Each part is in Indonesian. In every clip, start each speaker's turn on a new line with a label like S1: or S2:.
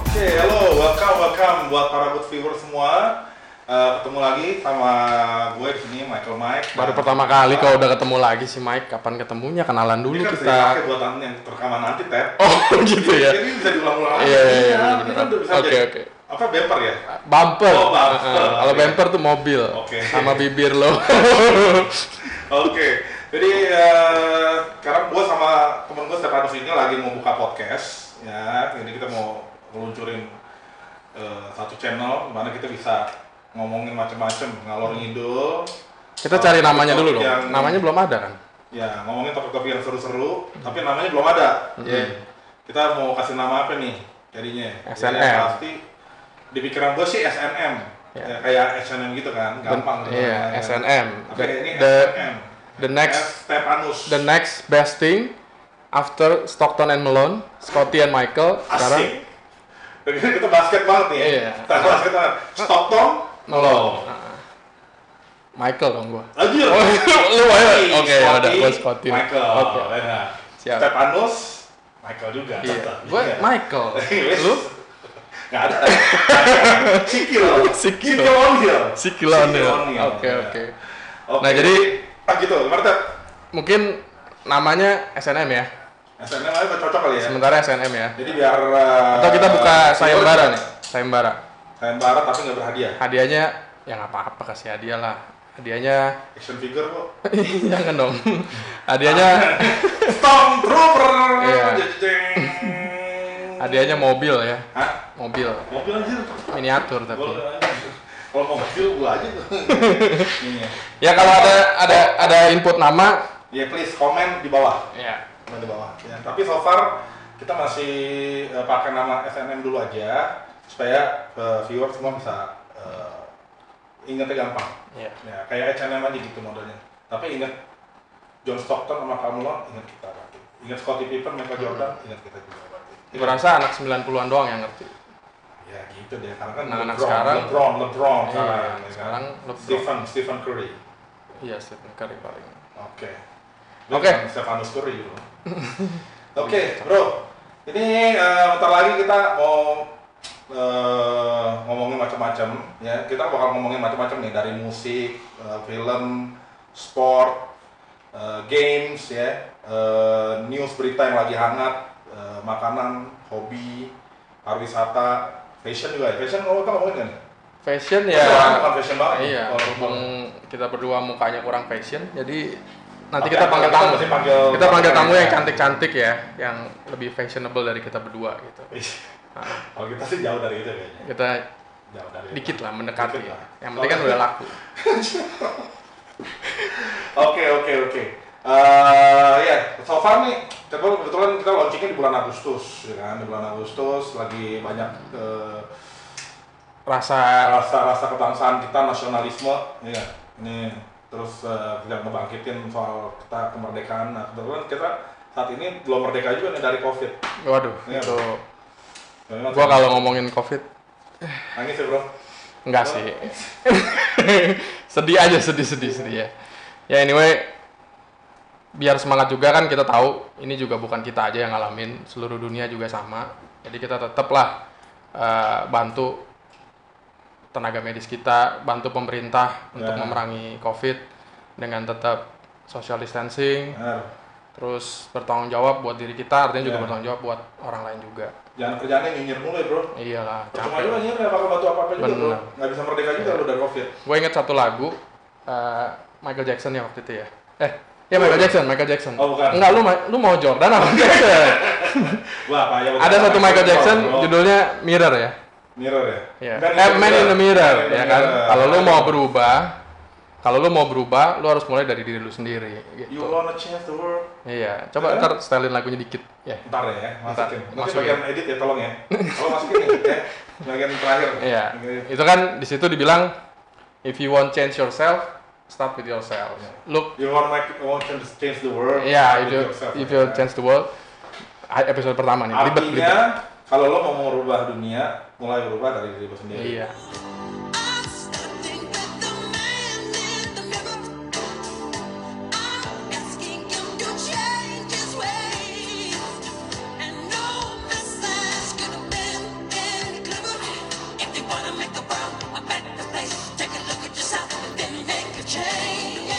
S1: Oke, halo, welcome, welcome buat para good viewer semua. Eh, ketemu lagi sama gue di sini Michael Mike.
S2: Baru pertama kali kalau udah ketemu lagi si Mike, kapan ketemunya? Kenalan
S1: Ini
S2: dulu
S1: kan kita pakai
S2: kita.
S1: buat yang rekaman nanti, Tep.
S2: Oh gitu ya.
S1: Jadi bisa diulang-ulang. lagi.
S2: Iya, iya, iya,
S1: ini
S2: bener.
S1: kan udah bisa
S2: Oke,
S1: jadi-
S2: oke.
S1: Apa bumper ya?
S2: Bumper.
S1: Oh, bumper.
S2: Eh, eh, Kalau
S1: Iya.
S2: bumper tuh mobil.
S1: Oke.
S2: Sama bibir lo.
S1: Oke, jadi eh, sekarang gue sama temen gue Stefanus ini lagi mau buka podcast, ya. Jadi kita mau meluncurin eh, satu channel dimana kita bisa ngomongin macam-macam ngalor ngidul.
S2: kita cari namanya dulu dong.
S1: Yang-
S2: Namanya belum ada kan?
S1: Ya ngomongin topik-topik yang seru-seru, tapi namanya belum ada.
S2: Iya.
S1: Jadi, Kita mau kasih nama apa nih jadinya? Jadi
S2: SNM.
S1: yang pasti di pikiran gue sih SNM,
S2: Ya.
S1: ya, kayak SNM gitu kan, gampang. gitu
S2: Iya,
S1: namanya.
S2: SNM.
S1: Tapi
S2: The,
S1: ini
S2: the-
S1: SNM.
S2: the next-
S1: S Stefanus.
S2: the next best thing after Stockton and Malone, Scotty and Michael sekarang
S1: Asik. Sekarang kita basket banget nih ya.
S2: Iya.
S1: Kita basket banget. Stockton. Oh.
S2: Malone. Ah. Michael dong gua.
S1: Lagi ya.
S2: Oh, lu aja. Oke, ya udah gua
S1: Scotty.
S2: Scotty.
S1: Michael.
S2: Oke.
S1: Nah,
S2: Siap.
S1: Stepanus. Michael juga.
S2: Iya.
S1: tetap.
S2: Gua
S1: Iya.
S2: Michael.
S1: Wes.
S2: Lu
S1: Nggak ada. Sikil.
S2: Sikil.
S1: O'Neal.
S2: si Kilonil.
S1: O'Neal.
S2: Oke,
S1: Iya.
S2: oke.
S1: Oke.
S2: Nah, jadi
S1: ah gitu. Gimana Ted?
S2: mungkin namanya SNM ya.
S1: SNM aja cocok kali ya.
S2: Sementara SNM ya.
S1: Jadi biar eh, Iya,
S2: Atau kita buka sayembara nih, sayembara.
S1: Sayembara tapi nggak berhadiah.
S2: Hadiahnya ya nggak apa-apa kasih hadiah lah. Hadiahnya
S1: Action figure kok.
S2: jangan dong. Hadiahnya
S1: Stormtrooper.
S2: Iya.
S1: Jeng.
S2: hadiahnya mobil ya,
S1: Hah?
S2: mobil
S1: Mobil anjir.
S2: miniatur tapi.
S1: Gua- Kalau mau mobil gua aja tuh. Nih,
S2: Ya kalau ada ada ada input nama
S1: Ya please komen di bawah.
S2: ya.
S1: Komen di bawah. Ya, tapi so far kita masih eh, pakai nama SNM dulu aja supaya eh, viewer semua bisa eh, ingetnya gampang.
S2: Ya.
S1: Ya, kayak SNM aja gitu modelnya. Tapi inget John Stockton sama Kamulon inget kita berarti. Ingat Scottie Pippen,
S2: Hmm.
S1: Michael Jordan, ingat kita juga berarti.
S2: Gua rasa anak 90-an doang yang ngerti.
S1: Ya gitu deh, karena kan
S2: Anak-anak
S1: LeBron,
S2: sekarang-
S1: LeBron, LeBron
S2: Iya,
S1: sekarang, ya kan?
S2: sekarang LeBron.
S1: Stephen, Stephen Curry.
S2: Iya, Stephen Curry paling.
S1: Oke.
S2: Oke.
S1: Bukan Stefanus Curry bro. Oke, bro. Ini eh, bentar lagi kita mau eh, ngomongin macam-macam ya. Kita bakal ngomongin macam-macam nih dari musik, eh, film, sport, eh, games ya, eh, news berita yang lagi hangat, eh, makanan, hobi, pariwisata, fashion juga ya. Fashion ngomong kita ngomongin kan?
S2: Fashion
S1: Bukan,
S2: ya.
S1: bukan fashion banget.
S2: Iya,
S1: Kalau- ya.
S2: mumpung kita berdua mukanya kurang fashion, jadi nanti
S1: Oke,
S2: kita panggil
S1: kita
S2: tamu.
S1: mesti panggil
S2: Kita panggil
S1: tamu
S2: tamu
S1: ya.
S2: yang cantik-cantik ya, yang lebih fashionable dari kita berdua gitu. Ah,
S1: Kalau kita sih jauh dari itu kayaknya.
S2: Kita
S1: Jauh dari itu.
S2: dikit lah mendekati.
S1: Dikit lah.
S2: Yang penting kan udah laku.
S1: Oke oke oke. Eh ya, so far nih, kebetulan, kebetulan kita launchingnya di bulan Agustus, ya kan? Di bulan Agustus lagi banyak eh,
S2: Rasa
S1: rasa-rasa kebangsaan kita, nasionalisme, ya. Ini terus eh, kita ngebangkitin soal kita kemerdekaan. Nah, kebetulan kita saat ini belum merdeka juga nih dari COVID.
S2: waduh,
S1: Iya.
S2: itu
S1: Memang
S2: gua kalau ngomongin Covid
S1: nangis ya bro.
S2: enggak sih. sedih aja, sedih-sedih sedih ya. Ya anyway, biar semangat juga kan kita tahu ini juga bukan kita aja yang ngalamin, seluruh dunia juga sama. Jadi kita tetaplah eh, bantu tenaga medis kita, bantu pemerintah untuk
S1: Ya.
S2: memerangi Covid dengan tetap social distancing,
S1: Benar.
S2: terus bertanggung jawab buat diri kita artinya juga
S1: Iya.
S2: bertanggung jawab buat orang lain juga
S1: Jangan kerjaannya nyinyir mulu ya bro.
S2: iyalah
S1: Cuma
S2: capek
S1: juga nyinyir nggak bakal bantu apa-apa juga bro.
S2: Benar.
S1: Nggak bisa merdeka juga lo dari COVID.
S2: gue inget satu lagu eh, Michael Jackson ya waktu itu ya eh ya Michael Jackson Michael Jackson
S1: Oh, bukan.
S2: enggak lu ma- lu mau Jordan apa Jackson
S1: Wah, apa ya?
S2: ada satu Michael Jackson
S1: Bro.
S2: judulnya Mirror ya
S1: Mirror ya?
S2: ya
S1: Man
S2: eh, Man in the Mirror
S1: Man in the
S2: ya kan
S1: Mirror.
S2: kalau lu mau berubah kalau lu mau berubah lu harus mulai dari diri lu sendiri
S1: You
S2: gitu
S1: wanna change the world
S2: iya coba
S1: Ya.
S2: ntar setelin lagunya dikit ya
S1: Ntar ya, masukin
S2: Ntar,
S1: Nanti
S2: masukin.
S1: bagian edit ya, tolong ya Kalau masukin edit ya Bagian terakhir
S2: Iya.
S1: Bagian edit.
S2: Itu kan di situ dibilang if you want change yourself, start with yourself.
S1: Iya.
S2: Look,
S1: You want make you want to change the world?
S2: ya,
S1: start
S2: if
S1: with
S2: you
S1: yourself,
S2: if
S1: ya.
S2: you change the world, Ah, episode pertama nih, ribet
S1: Artinya
S2: ribet.
S1: kalau lo mau merubah dunia, mulai berubah dari diri lo sendiri.
S2: Iya.
S3: I stopped and met the man in the mirror. I'm asking him to change his ways, and no message could have been any clearer. If you wanna make the world a better place, take a look at yourself and then make a change.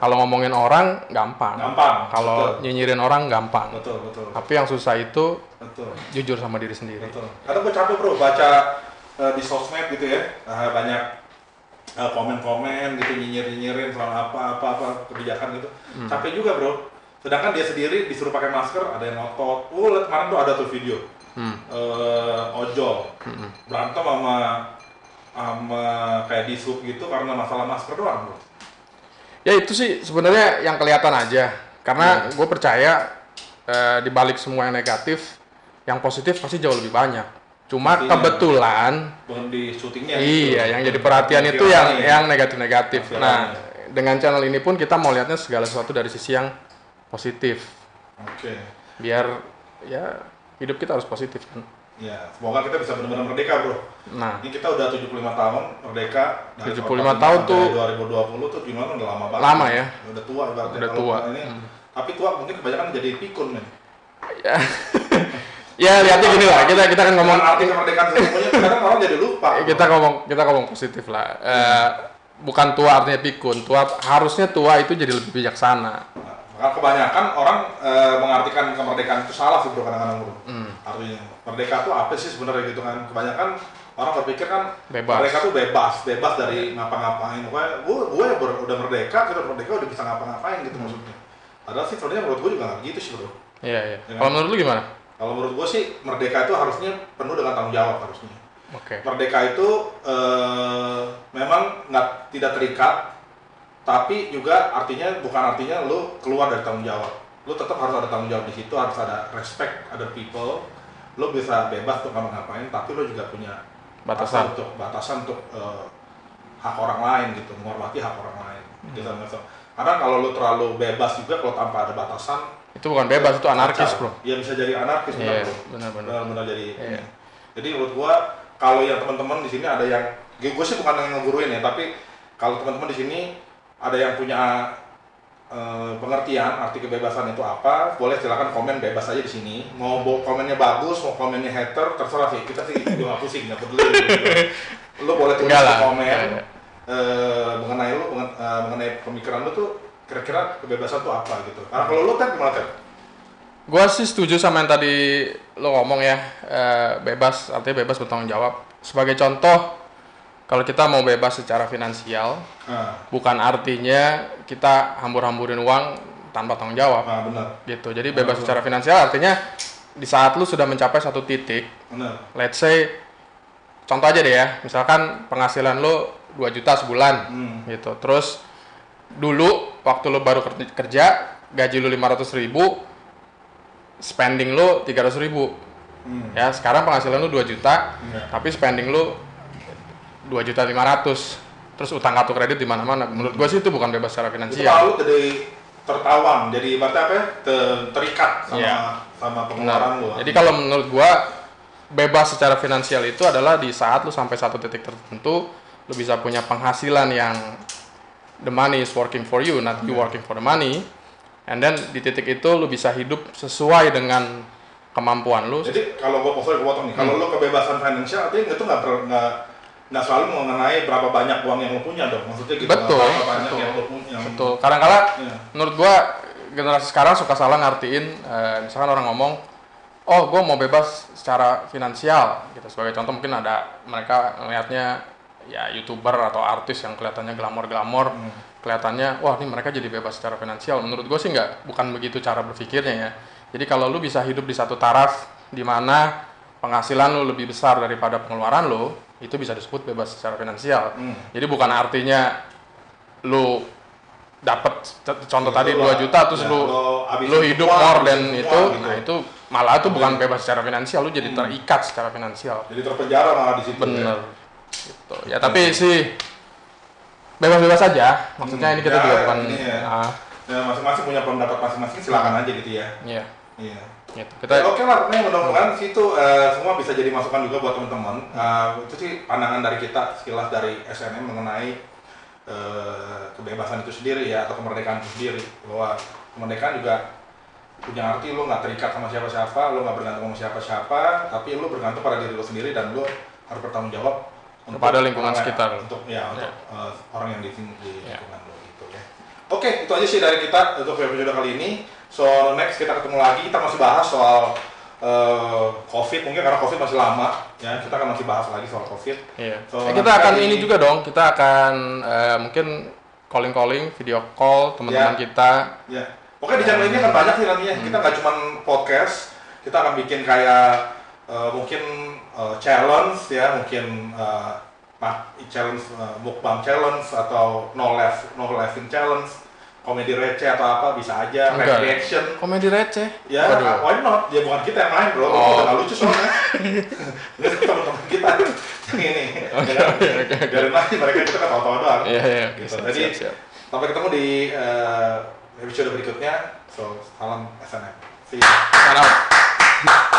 S2: Kalau ngomongin orang gampang.
S1: Gampang,
S2: Kalau
S1: betul.
S2: nyinyirin orang gampang.
S1: Betul, betul,
S2: Tapi yang susah itu
S1: betul,
S2: jujur sama diri sendiri.
S1: betul. Karena gue capek bro baca eh, di sosmed gitu ya eh, banyak eh, komen-komen gitu nyinyir-nyinyirin soal apa-apa kebijakan gitu.
S2: Hmm.
S1: Capek juga bro. Sedangkan dia sendiri disuruh pakai masker, ada yang ngotot. Uh, liat kemarin tuh ada tuh video
S2: Hmm.
S1: eh, ojol berantem sama sama kayak di sub gitu karena masalah masker doang bro.
S2: Ya itu sih sebenarnya yang kelihatan aja. Karena
S1: Iya.
S2: gue percaya eh, di balik semua yang negatif, yang positif pasti jauh lebih banyak. Cuma
S1: Pastinya.
S2: kebetulan,
S1: Bukan di syutingnya. gitu.
S2: iya, yang jadi perhatian
S1: Yang
S2: itu yang
S1: viralnya.
S2: yang negatif-negatif.
S1: Yang viralnya.
S2: Nah, dengan channel ini pun kita mau lihatnya segala sesuatu dari sisi yang positif.
S1: Oke.
S2: Biar ya hidup kita harus positif. kan.
S1: Ya, semoga kita bisa benar-benar merdeka, Bro.
S2: Nah,
S1: Ini kita udah 75 tahun merdeka. Dari
S2: 75
S1: kota-
S2: tahun
S1: dari
S2: tuh-
S1: 2020 tuh gimana udah lama banget.
S2: Lama ya.
S1: Udah tua ibaratnya.
S2: Udah
S1: kalau
S2: tua, Hmm.
S1: Ini. Tapi tua mungkin kebanyakan jadi pikun, men.
S2: ya lihatnya gini lah. Kita kita kan ngomong
S1: Ngomong arti kemerdekaan sesungguhnya kadang orang jadi lupa.
S2: Eh, kita ngomong kita ngomong positif lah Eh, bukan tua artinya pikun tua harusnya tua itu jadi lebih bijaksana
S1: Nah, Maka kebanyakan orang eh, mengartikan kemerdekaan itu salah sih, Bro, kadang-kadang, Bro. Artinya merdeka tuh apa sih sebenarnya gitu kan? Kebanyakan orang berpikir kan
S2: Bebas.
S1: merdeka tuh bebas, bebas dari ngapa-ngapain. Gue gue gue ber- udah merdeka, kita udah merdeka udah bisa ngapa-ngapain gitu maksudnya. Padahal sih sebenarnya menurut gue juga nggak gitu sih, Bro.
S2: iya iya
S1: Dengan-
S2: kalau menurut lu gimana
S1: Kalau menurut gue sih merdeka itu harusnya penuh dengan tanggung jawab harusnya.
S2: oke
S1: Merdeka itu eh, memang nggak tidak terikat, tapi juga artinya bukan artinya lu keluar dari tanggung jawab. Lu tetap harus ada tanggung jawab di situ, harus ada respect other people. Lu bisa bebas untuk ngapain, tapi lu juga punya
S2: Batasan.
S1: untuk batasan untuk eh, hak orang lain gitu, menghormati hak orang lain.
S2: Hmm.
S1: Gitu, gitu. Karena kalau lu terlalu bebas juga, kalau tanpa ada batasan,
S2: itu bukan bebas itu anarkis
S1: kacau.
S2: bro
S1: Iya bisa jadi anarkis benar,
S2: iya
S1: bro
S2: benar-benar
S1: benar-benar jadi
S2: Iya.
S1: ini. jadi menurut gua kalau yang teman-teman di sini ada yang gue sih bukan yang ngeguruin ya tapi kalau teman-teman di sini ada yang punya eh, pengertian arti kebebasan itu apa boleh silakan komen bebas aja di sini mau bo- komennya bagus mau komennya hater terserah sih kita sih juga nggak pusing nggak peduli lo boleh tulis
S2: Enggak
S1: di
S2: lah.
S1: komen
S2: Iya, iya.
S1: eh, mengenai lo mengen- eh, mengenai pemikiran lo tuh kira-kira kebebasan tuh apa gitu karena kalau lo kan gimana kan
S2: gue sih setuju sama yang tadi lo ngomong ya eh, bebas artinya bebas bertanggung jawab sebagai contoh kalau kita mau bebas secara finansial
S1: nah,
S2: bukan artinya kita hambur-hamburin uang tanpa tanggung jawab
S1: nah benar
S2: gitu jadi bebas secara finansial artinya di saat lu sudah mencapai satu titik
S1: benar
S2: let's say contoh aja deh ya misalkan penghasilan lu 2 juta sebulan
S1: Hmm.
S2: gitu terus dulu waktu lu baru ker- kerja gaji lu 500 ribu spending lu 300 ribu
S1: Hmm.
S2: ya sekarang penghasilan lu 2 juta
S1: Iya.
S2: tapi spending lu 2 juta 500 terus utang kartu kredit di mana mana menurut gua sih itu bukan bebas secara
S1: itu
S2: finansial
S1: lalu jadi tertawan jadi ibaratnya apa ya te- terikat sama
S2: Iya.
S1: sama pengeluaran
S2: Benar.
S1: lu
S2: Jadi kalau menurut gua bebas secara finansial itu adalah di saat lu sampai satu titik tertentu lu bisa punya penghasilan yang the money is working for you, not you working for the money. And then di titik itu lu bisa hidup sesuai dengan kemampuan lu.
S1: jadi kalau gua sorry gua potong nih
S2: Hmm.
S1: kalau lu kebebasan finansial artinya itu nggak per- nggak nggak selalu mengenai berapa banyak uang yang lu punya dong maksudnya gitu
S2: Betul,
S1: berapa banyak
S2: betul.
S1: yang lu punya yang-
S2: Betul. Kadang-kala
S1: Iya.
S2: menurut gua generasi sekarang suka salah ngartiin eh, misalkan orang ngomong oh gua mau bebas secara finansial gitu sebagai contoh mungkin ada mereka melihatnya ya youtuber atau artis yang kelihatannya glamor-glamor kelihatannya wah ini mereka jadi bebas secara finansial menurut gue sih nggak bukan begitu cara berpikirnya ya jadi kalau lu bisa hidup di satu taraf di mana penghasilan lu lebih besar daripada pengeluaran lu itu bisa disebut bebas secara finansial
S1: Hmm.
S2: jadi bukan artinya lu dapat c- contoh
S1: Betul
S2: tadi
S1: lah.
S2: 2 juta terus
S1: Ya,
S2: lu
S1: lo habisin
S2: lu hidup
S1: semua,
S2: more
S1: habisin
S2: than
S1: semua,
S2: itu
S1: gitu. Iya. Hmm.
S2: nah itu malah itu bukan bebas secara finansial lu jadi terikat secara finansial
S1: Iya. jadi terpenjara malah di situ ya.
S2: bener gitu ya tapi sih bebas-bebas aja. Maksudnya
S1: Hmm,
S2: ini
S1: ya,
S2: kita juga bukan
S1: ini ya.
S2: ah,
S1: Ya, masing-masing punya pendapat masing-masing silakan aja gitu ya.
S2: iya,
S1: Iya.
S2: gitu. Kita
S1: Ya, Oke lah, pokoknya mudah-mudahan sih itu eh, semua bisa jadi masukan juga buat teman-teman. Eh, itu sih pandangan dari kita sekilas dari SNM mengenai eh, kebebasan itu sendiri ya atau kemerdekaan itu sendiri bahwa kemerdekaan juga punya arti lu nggak terikat sama siapa-siapa, lu nggak bergantung sama siapa-siapa, tapi lu bergantung pada diri lu sendiri dan lu harus bertanggung jawab untuk
S2: Pada lingkungan
S1: orang lain,
S2: sekitar.
S1: untuk ya untuk eh, orang yang di, di
S2: Ya.
S1: lingkungan lu gitu ya. Oke, itu aja sih dari kita untuk episode kali ini. So next kita ketemu lagi, kita masih bahas soal eh, COVID mungkin karena COVID masih lama ya kita akan masih bahas lagi soal COVID.
S2: Iya.
S1: So,
S2: Eh, kita
S1: nanti
S2: akan
S1: kali-
S2: ini juga dong. Kita akan eh, mungkin calling calling, video call teman-teman
S1: Ya.
S2: kita.
S1: Ya, oke di channel ini akan banyak sih nantinya. Kita nggak cuma podcast, kita akan bikin kayak eh, mungkin eh, challenge ya, mungkin eh, mak- challenge eh, mukbang challenge atau no laugh no laughing challenge, komedi receh atau apa bisa aja,
S2: Enggak.
S1: reaction.
S2: Komedi receh.
S1: Ya,
S2: Waduh.
S1: why not? Ya bukan kita yang main bro,
S2: Oh.
S1: udah nggak lucu soalnya. Ini teman-teman kita yang ini.
S2: Oh,
S1: Biarin aja mereka kita ketawa-tawa doang.
S2: Iya iya.
S1: Gitu.
S2: Siap,
S1: Jadi,
S2: siap, siap.
S1: Sampai ketemu di eh, episode berikutnya. So, salam SNM. See you.
S2: Salam.